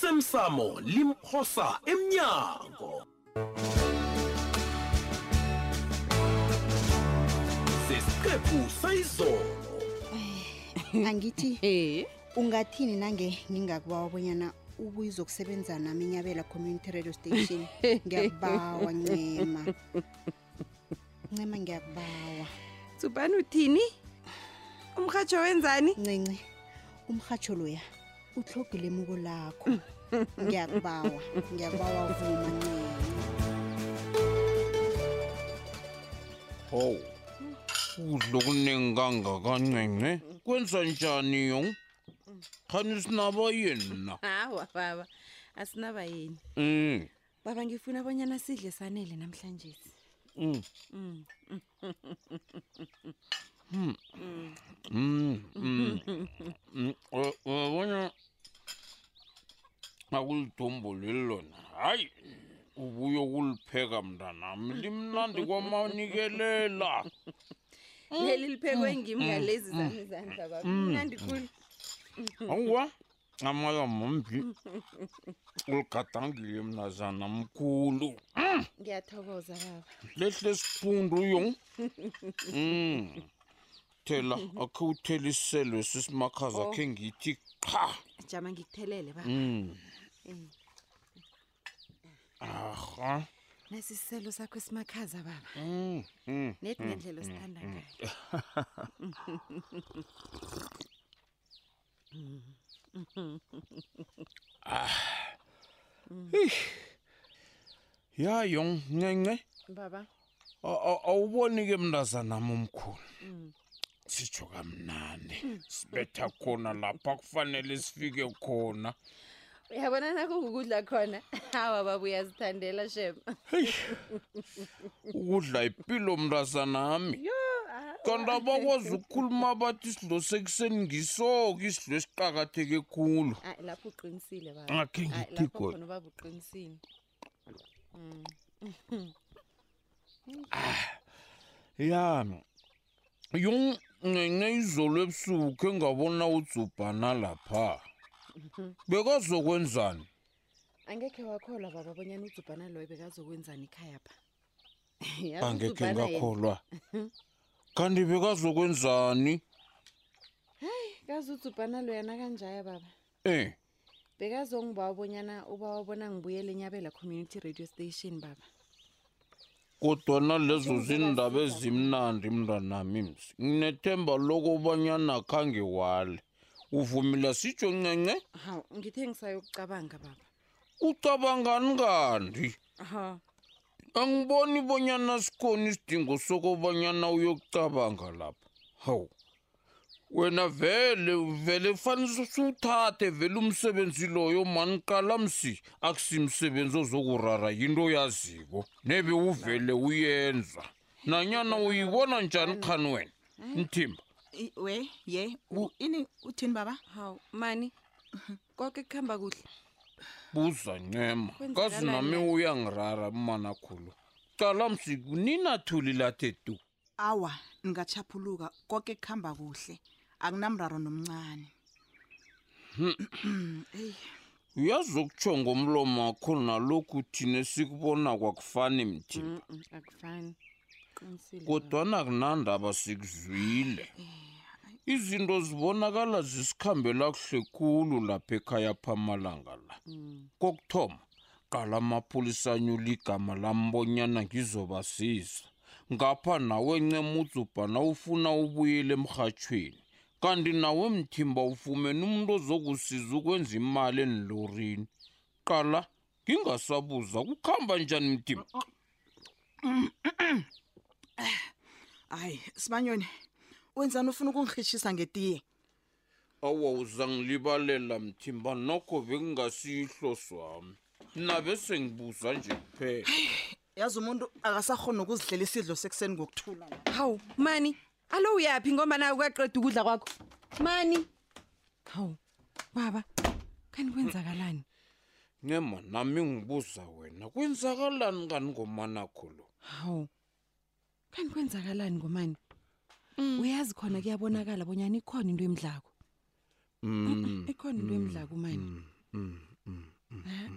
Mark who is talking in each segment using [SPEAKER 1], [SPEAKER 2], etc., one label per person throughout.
[SPEAKER 1] osemsamo limphosa emnyango sesiqephu sayizolo
[SPEAKER 2] angithi
[SPEAKER 3] Eh,
[SPEAKER 2] ungathini nange ngingakubawa bonyana ubuye uzokusebenza nami inyabela community radio station ngiyakubawa ncema ncema ngiyakubawa
[SPEAKER 3] Tsubani uthini? Umrhatsho wenzani?
[SPEAKER 2] ncinci umrhatsho loya utlogile emuko lakho ngiyakubawa ngiyakubawa vuma ncinci
[SPEAKER 4] hawu udla okuningi kangakancinci kwenza njani yong khani sinaba yena
[SPEAKER 3] Hawa baba, asinaba yini.
[SPEAKER 4] Mm,
[SPEAKER 3] Baba ngifuna abanyana sidle sanele namhlanje.
[SPEAKER 4] mm. Mm, mm. Mm, wa- wabona akulidumbu leli lona hayi ubuye ukulipheka mntanami limnandi kwamanikelela
[SPEAKER 3] Leli Mm. liphekwe ngimi ngalezi zami izandla baba. Mnandi khulu.
[SPEAKER 4] Awa, amala mambi. Uligadangile mnazana mkhulu.
[SPEAKER 3] Ngiyathokoza baba.
[SPEAKER 4] Lehle sifundu yo. Mm. Thela akhe utheliselo sisimakhaza akhe ngithi qha.
[SPEAKER 3] Jama ngikuthelele baba.
[SPEAKER 4] Mm.
[SPEAKER 3] Eh,
[SPEAKER 4] Aha.
[SPEAKER 3] Mm. nasiselo sakho esimakhaza baba.
[SPEAKER 4] Mm. mm.
[SPEAKER 3] Net ngendlela osithanda ngayo.
[SPEAKER 4] Ya yong ncenye.
[SPEAKER 3] Baba.
[SPEAKER 4] A- a- Awuboni ke mntazana momkhulu. Sitsho kamnane. Sibetha khona lapha kufanele sifike khona.
[SPEAKER 3] Uyabona nakho ukudla khona. Hawa baba uyazithandela shem.
[SPEAKER 4] ukudla impilo mrazanami
[SPEAKER 3] Yo,
[SPEAKER 4] kanti abakwazi ukukhuluma bathi isidlo sekuseni ngisoke isidlo esiqakatheke khulu
[SPEAKER 3] Ah, lapho uqinisile baba.
[SPEAKER 4] Akhe
[SPEAKER 3] Ah,
[SPEAKER 4] ngithi
[SPEAKER 3] lapho
[SPEAKER 4] godu.
[SPEAKER 3] khona ubaba uqinisile.
[SPEAKER 4] yami yoncenye izolo ebusuku khe ngabona utsubhana lapha bekazokwenzani
[SPEAKER 3] angekhe wakholwa baba bonyana ujubhana loyo bekazokwenzani ikhaya pha Yazi
[SPEAKER 4] angekhe
[SPEAKER 3] uJubhana yena
[SPEAKER 4] ngakholwa kanti bekazokwenzani
[SPEAKER 3] kazi ujubhana loyo nakanjaya baba
[SPEAKER 4] eh
[SPEAKER 3] bekazongibawa bonyana ubawa bona ngibuyele enyabela community radio station baba
[SPEAKER 4] kodwana lezo zindaba ezimnandi mntanami msi nginethemba lokobanyana khange wale uvumile sitsho ncence
[SPEAKER 3] hawu ngithe ngisayokucabanga baba
[SPEAKER 4] ucabangani kanti
[SPEAKER 3] ha
[SPEAKER 4] angiboni bonyana sikhona isidingo sokobanyana uyokucabanga lapha hawu wena vele vele fanele siwuthathe vele umsebenzi loyo maniqala msi akusimsebenzi ozokurara yinto oyaziko nebe uvele uyenza nanyana uyibona njani khani wena mthimba
[SPEAKER 5] I- we ye u- ini uthini baba
[SPEAKER 3] hawu mani konke kuhamba kuhle
[SPEAKER 4] buza ncema kazi
[SPEAKER 3] Kwenzakalani
[SPEAKER 4] nami
[SPEAKER 3] na?
[SPEAKER 4] uyangirara mmanakhulu cala msi kuninathuli lathe tu
[SPEAKER 5] awa ningachaphuluka konke kuhamba kuhle akunamraro nomncane
[SPEAKER 4] uyazi okutsho ngomlomo wakho nalokhu thina sikubona kwakufani mthimba
[SPEAKER 3] Mm, mm, akufani qinisile baba.
[SPEAKER 4] kodwana kunandaba sikuzwile izinto zibonakala zisikhambela kuhle khulu lapha ekhaya phamalanga la kokuthoma qala amapholisa anyula igama lambonyana ngizobasiza ngapha nawe ncema udzubhana ufuna ubuyele emrhatshweni kanti nawe mthimba ufumene umuntu ozokusiza ukwenza imali enilorini qala ngingasabuza kukhamba njani mthimba
[SPEAKER 5] hayi sibanyoni wenzani ufuna ukungirhitshisa ngetiye
[SPEAKER 4] awa uzangilibalela mthimba nokho bekungasiyihlo swami nabe sengibuza nje kuphela
[SPEAKER 5] yazi umuntu akasakhona ukuzidlela isidlo sekuseni ngokuthula
[SPEAKER 3] hawu mani alo uyaphi ngombana ukaqeda ukudla kwakho mani hawu baba kani kwenzakalani
[SPEAKER 4] ncema nami ngibuza wena kwenzakalani kani ngomanakho lo
[SPEAKER 3] hawu kanti kwenzakalani ngomani uyazi khona kuyabonakala Mm. bonyana ikhona into emdlako ikhona into emdlako umani Eh,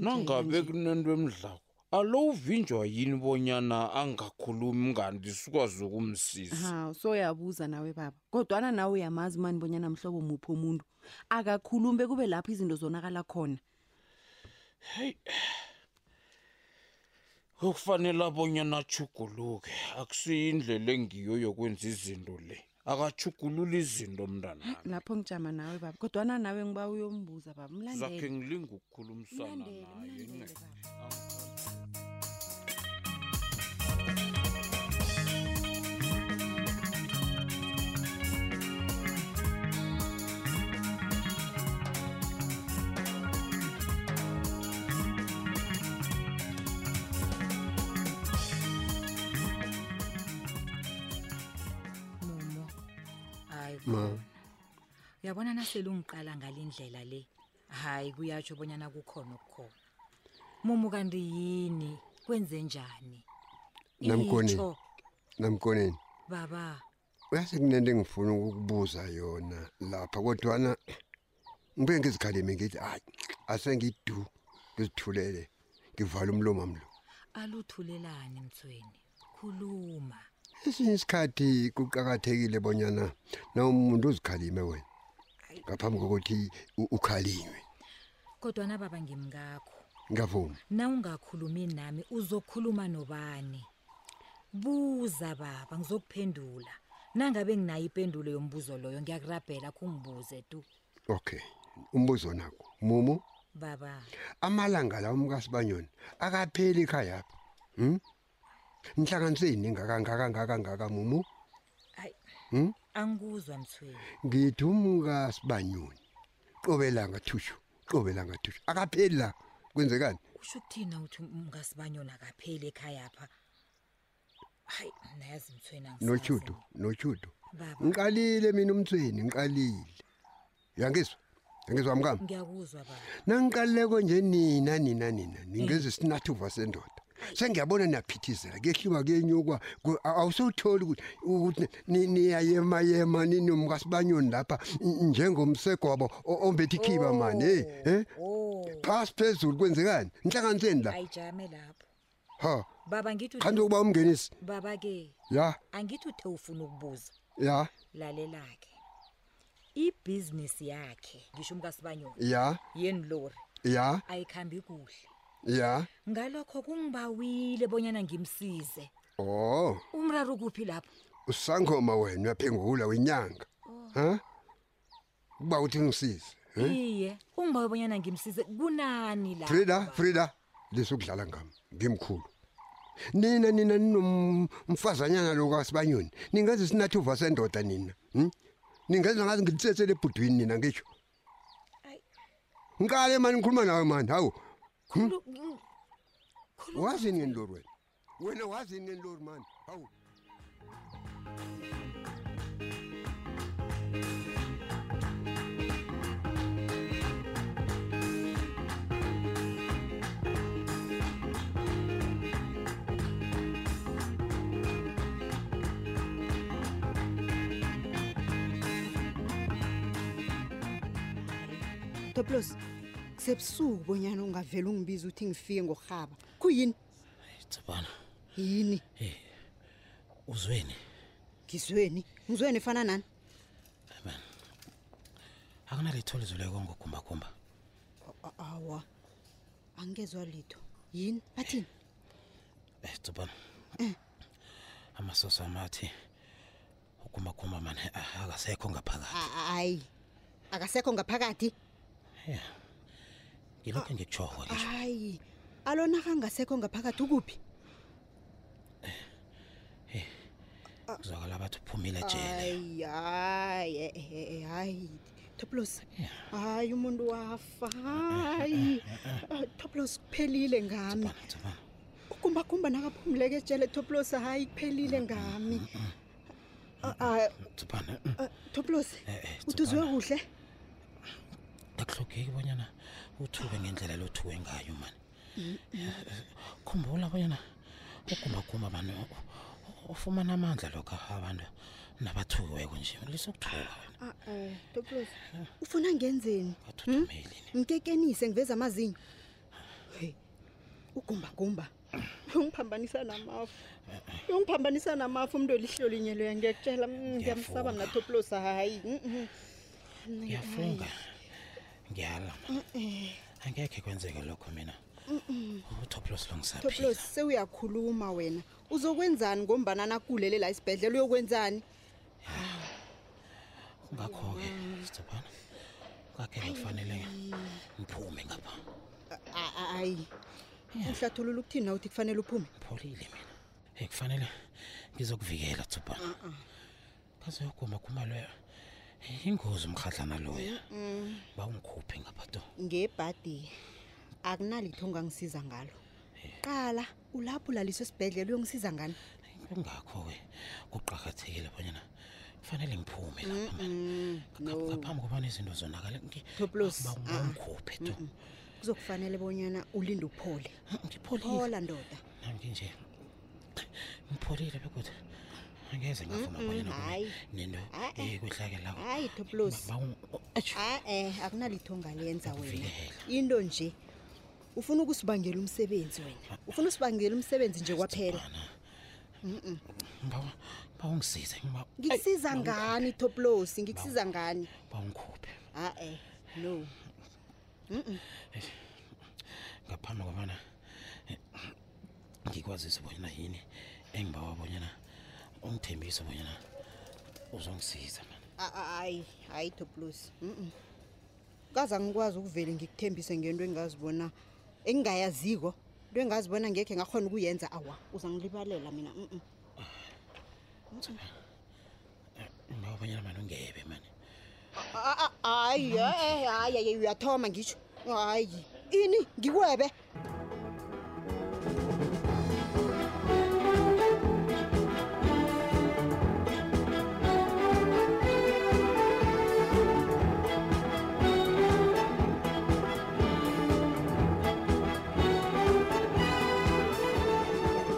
[SPEAKER 4] nangabe kunento emdlako alo uvinjwa yini bonyana angakhulumi nganti sikwazi ukumsiza
[SPEAKER 3] hawu soyabuza nawe baba kodwana nawe uyamazi mani bonyana mhlobo muphi umuntu akakhulumi bekube lapho izinto zonakala khona
[SPEAKER 4] okufanele abonyana achuguluke akusiyindlela engiyo yokwenza izinto le akachugulula izinto mntanami
[SPEAKER 3] lapho ngijama nawe baba kodwana nawe ngiba uyombuza baba
[SPEAKER 4] zakhe
[SPEAKER 3] mlandele
[SPEAKER 4] ngilinga ukukhulumisana
[SPEAKER 3] Mlandele,
[SPEAKER 4] naye ne.
[SPEAKER 3] mlandele baba.
[SPEAKER 6] mumo hayi
[SPEAKER 7] ma
[SPEAKER 6] uyabona nasele ungiqala ngalindlela le hayi kuyatsho bonyana kukhona okukhona mumo kanti yini kwenze njani
[SPEAKER 7] Namkoneni.
[SPEAKER 6] Itjho,
[SPEAKER 7] namkoneni
[SPEAKER 6] baba
[SPEAKER 7] uyase kunento engifuna ukukubuza yona lapha kodwana ngibuye ngizikhalime ngithi hayi asengidu ngizithulele ngivale umlomo wami lo
[SPEAKER 6] aluthulelani mthweni khuluma
[SPEAKER 7] esinye isikhathi kuqakathekile bonyana na umuntu uzikhalime wena ngaphambi kokuthi u- ukhaliwe
[SPEAKER 6] kodwana baba ngimkakho
[SPEAKER 7] ngavuma
[SPEAKER 6] na ungakhulumi nami uzokhuluma nobani buza baba ngizokuphendula nangabe nginayo impendulo yombuzo loyo ngiyakurabhela khungibuze tu
[SPEAKER 7] okay umbuzo nako mumu
[SPEAKER 6] baba
[SPEAKER 7] amalanga lawo mkasibanyoni akapheli ikhaya apha hm nihlanganise yini ngaka ngaka ngaka ngaka mumu
[SPEAKER 6] hayi
[SPEAKER 7] hm
[SPEAKER 6] angikuzwa mthweni
[SPEAKER 7] ngithi umkasibanyoni qobelanga thushu qobelanga thushu akapheli la kwenzekani
[SPEAKER 6] usho ukuthina uthi ungasibanyona kapheli ekhaya pha hayi nayazi mthweni angisazi.
[SPEAKER 7] nochudo nochudo Hmm?
[SPEAKER 6] baba
[SPEAKER 7] ngiqalile mina umthweni ngiqalile uyangizwa uyangizwa amkami
[SPEAKER 6] ngiyakuzwa baba
[SPEAKER 7] nangiqaluleko nje nina nina nina ningeza isinathuva sendoda sengiyabona niyaphithizela kuyehliwa kuyenyukwa ku- a- awusowutholi ukuthi- ukuthi ni- niyayemayema ninomkasibanyoni lapha n- njengomsegwabo o- ombethe ikhiba mani um
[SPEAKER 6] oh
[SPEAKER 7] phasi phezulu kwenzekani nihlanganiseni la
[SPEAKER 6] ayijame lapho
[SPEAKER 7] ha
[SPEAKER 6] baba ngithi
[SPEAKER 7] khandi ukuba umngenisi
[SPEAKER 6] baba ke
[SPEAKER 7] ya
[SPEAKER 6] angithi uthe ufuna ukubuza
[SPEAKER 7] ya
[SPEAKER 6] lalela-ke ibhizinisi yakhe ngisho umkasibanyoni
[SPEAKER 7] ya
[SPEAKER 6] yeni lori
[SPEAKER 7] ya
[SPEAKER 6] ayikhambi kuhle
[SPEAKER 7] ya
[SPEAKER 6] ngalokho kungibawile bonyana ngimsize
[SPEAKER 7] o
[SPEAKER 6] umraro kuphi lapho
[SPEAKER 7] usangoma Oh, wena uyaphengula wenyanga ha ukuba uthi ngisize um
[SPEAKER 6] iye ungibawe bonyana ngimsize kunani la
[SPEAKER 7] frida frida lesokudlala ngami ngimkhulu nina nina ninomfazanyana lokasibanyoni ningenza isinathuva sendoda nina hm? ningenza ngazi ngilitsetsele ebhudwini nina ngisho
[SPEAKER 6] Ayi.
[SPEAKER 7] nkale mani ngikhuluma nawe mani hawu Hm?
[SPEAKER 6] Khulu- ng- khulu-
[SPEAKER 7] wazini ngenilori wena wena wazini ngenilori mani hawu
[SPEAKER 2] toplos kusebusuku bonyana ungavele ungibiza uthi ngifike ngorhaba kuyini
[SPEAKER 8] tsabana
[SPEAKER 2] yini
[SPEAKER 8] uzweni
[SPEAKER 2] ngizweni ngizweni efana nani
[SPEAKER 8] akunalitho lizuleko ngogumbagumba
[SPEAKER 2] A- awa angezwa litho yini bathini
[SPEAKER 8] eh tsabana amasosi amathi ugumbagumba mane a- akasekho ngaphakathi
[SPEAKER 2] A- hayi akasekho ngaphakathi
[SPEAKER 8] ngilokho ngikuchoko ngisho
[SPEAKER 2] hayi alona kangasekho ngaphakathi ukuphi
[SPEAKER 8] kuzwakala abathi uphumile ejele
[SPEAKER 2] hayi hayi eh, eh, eh, hayi toplos hayi umuntu wafa hayi Ah, toplos kuphelile ngami
[SPEAKER 8] tsabana tsabana
[SPEAKER 2] ukumbakumba nakaphumuleke etshele toplos hayi kuphelile ngami Ah, ah,
[SPEAKER 8] tsabana
[SPEAKER 2] ah, toplos
[SPEAKER 8] Eh, eh,
[SPEAKER 2] utuzwe
[SPEAKER 8] Tsopana.
[SPEAKER 2] kuhle
[SPEAKER 8] akuhlogeki bonyana uthuke ngendlela lothuke ngayo mani Eh, khumbula bonyana ugumbagumba mani u- u- ufumana amandla lokho abantu nabathukiweko nje lisokuthuka wena
[SPEAKER 2] Ah, eh, toplos ufuna ngenzeni
[SPEAKER 8] athuthumelini
[SPEAKER 2] ngikekenise ngiveza amazinyo ugumbagumba uyongiphambanisa namafu uyongiphambanisa namafu umntu olihlolinye loya ngiyakutshela mm, ngiyamsaba mna toplos hayi mm, mm.
[SPEAKER 4] ngiyafunga ngiyala
[SPEAKER 2] Eh,
[SPEAKER 4] ma. angekhe kwenzeke lokho mina utoplos
[SPEAKER 2] toplos
[SPEAKER 4] lo ngisaphila
[SPEAKER 2] sewuyakhuluma wena uzokwenzani ngombana nakulele la isibhedlela uyokwenzani
[SPEAKER 4] kungakho-ke
[SPEAKER 9] 뭐
[SPEAKER 4] sithobana kungakhe bekufanele ngiphume ngapha
[SPEAKER 2] A- a- Ah, hayi uhlathulula ukuthini na uthi kufanele uphume
[SPEAKER 4] pholile mina hey kufanele ngizokuvikela thubana kaze yogumaguma loyo ingozi umrhadlana loyo bawungikhuphe ngapha to
[SPEAKER 2] ngebhadi akunalitho ongangisiza ngalo qala ulapho ulaliswe esibhedlela uyongisiza ngani
[SPEAKER 4] kungakho-ke kuqakathekile bonyana kufanele ngiphume lapha mani
[SPEAKER 2] no.
[SPEAKER 4] ngaphambi kobana izinto zonakale
[SPEAKER 2] Toplos, ah, ah.
[SPEAKER 4] bawungikhuphe to
[SPEAKER 2] kuzokufanele bonyana ulinde uphole
[SPEAKER 4] ngipholile
[SPEAKER 2] phola ndoda
[SPEAKER 4] nami nje ngipholile bekuthi angeze ngavuma bonyana
[SPEAKER 2] hayi.
[SPEAKER 4] nento
[SPEAKER 2] Ah, ah.
[SPEAKER 4] ekwehlakelako
[SPEAKER 2] Hayi, Toplos. Ah, a-e akunalitho ongalenza wena into nje ufuna ukusibangela umsebenzi wena ufuna usibangela umsebenzi nje kwaphela
[SPEAKER 4] bawungisize ngiba-
[SPEAKER 2] ngikusiza ngani toplosi ngikusiza ngani
[SPEAKER 4] bawungikhuphe
[SPEAKER 2] a-e no
[SPEAKER 4] ngaphambi kobana eh, ngikwazise bonyana yini engibawa bonyana ungithembise bonyana uzongisiza mani
[SPEAKER 2] A- a- hayi hayi toplosi kaze angikwazi ukuvele ngikuthembise ngento engingazibona engingayaziko into engingazibona ngekhe ngakhona ukuyenza awa uzangilibalela mina mm, mm.
[SPEAKER 9] 뭐
[SPEAKER 4] ngibawa bonyana mani ungebe mani
[SPEAKER 2] Ah, ah, hayi eh, eh, hayi hayi uyathoma ngisho hayi ini ngikwebe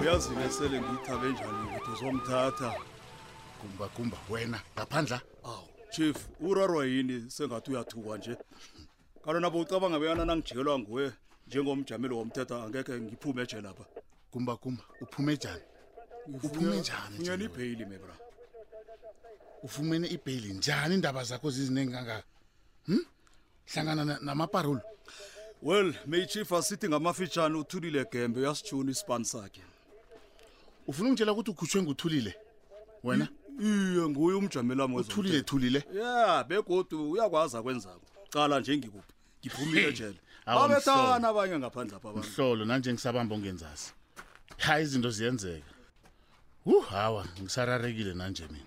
[SPEAKER 10] uyazi-ke sele ngiyithabe njani ukuthi uzomthatha
[SPEAKER 9] gumba gumba wena ngaphandla
[SPEAKER 10] awu chief urarwa yini sengathi uyathukwa nje kalo nabo ucabanga beyana nangijikelwa nguwe njengomjameli womthetho angekhe ngiphume eje lapha
[SPEAKER 9] gumba gumba uphume njani Uphume njani nje
[SPEAKER 10] unyana
[SPEAKER 9] wena?
[SPEAKER 10] ibheyili mebra
[SPEAKER 9] ufumene ibheyili njani iindaba zakho ziziningi kangaka hm hlangana na- namaparolo
[SPEAKER 10] well may chief asithi ngamafitshane uthulile gembe uyasitshuna isipani sakhe
[SPEAKER 9] ufuna ungitshela ukuthi ukhutshwe nguthulile wena
[SPEAKER 10] iye nguye umjamelami
[SPEAKER 9] uthulile thulile
[SPEAKER 10] ya begodu uyakwazi akwenzako cala nje ngikuphi ngiphumile
[SPEAKER 9] Hey,
[SPEAKER 10] ejele
[SPEAKER 9] awu,
[SPEAKER 10] babethana
[SPEAKER 9] mhlobo.
[SPEAKER 10] abanye ngaphandle apha abantu
[SPEAKER 9] mhlolo nanje ngisabamba ongenzazi hayi izinto ziyenzeka hu hawa ngisararekile nanje mina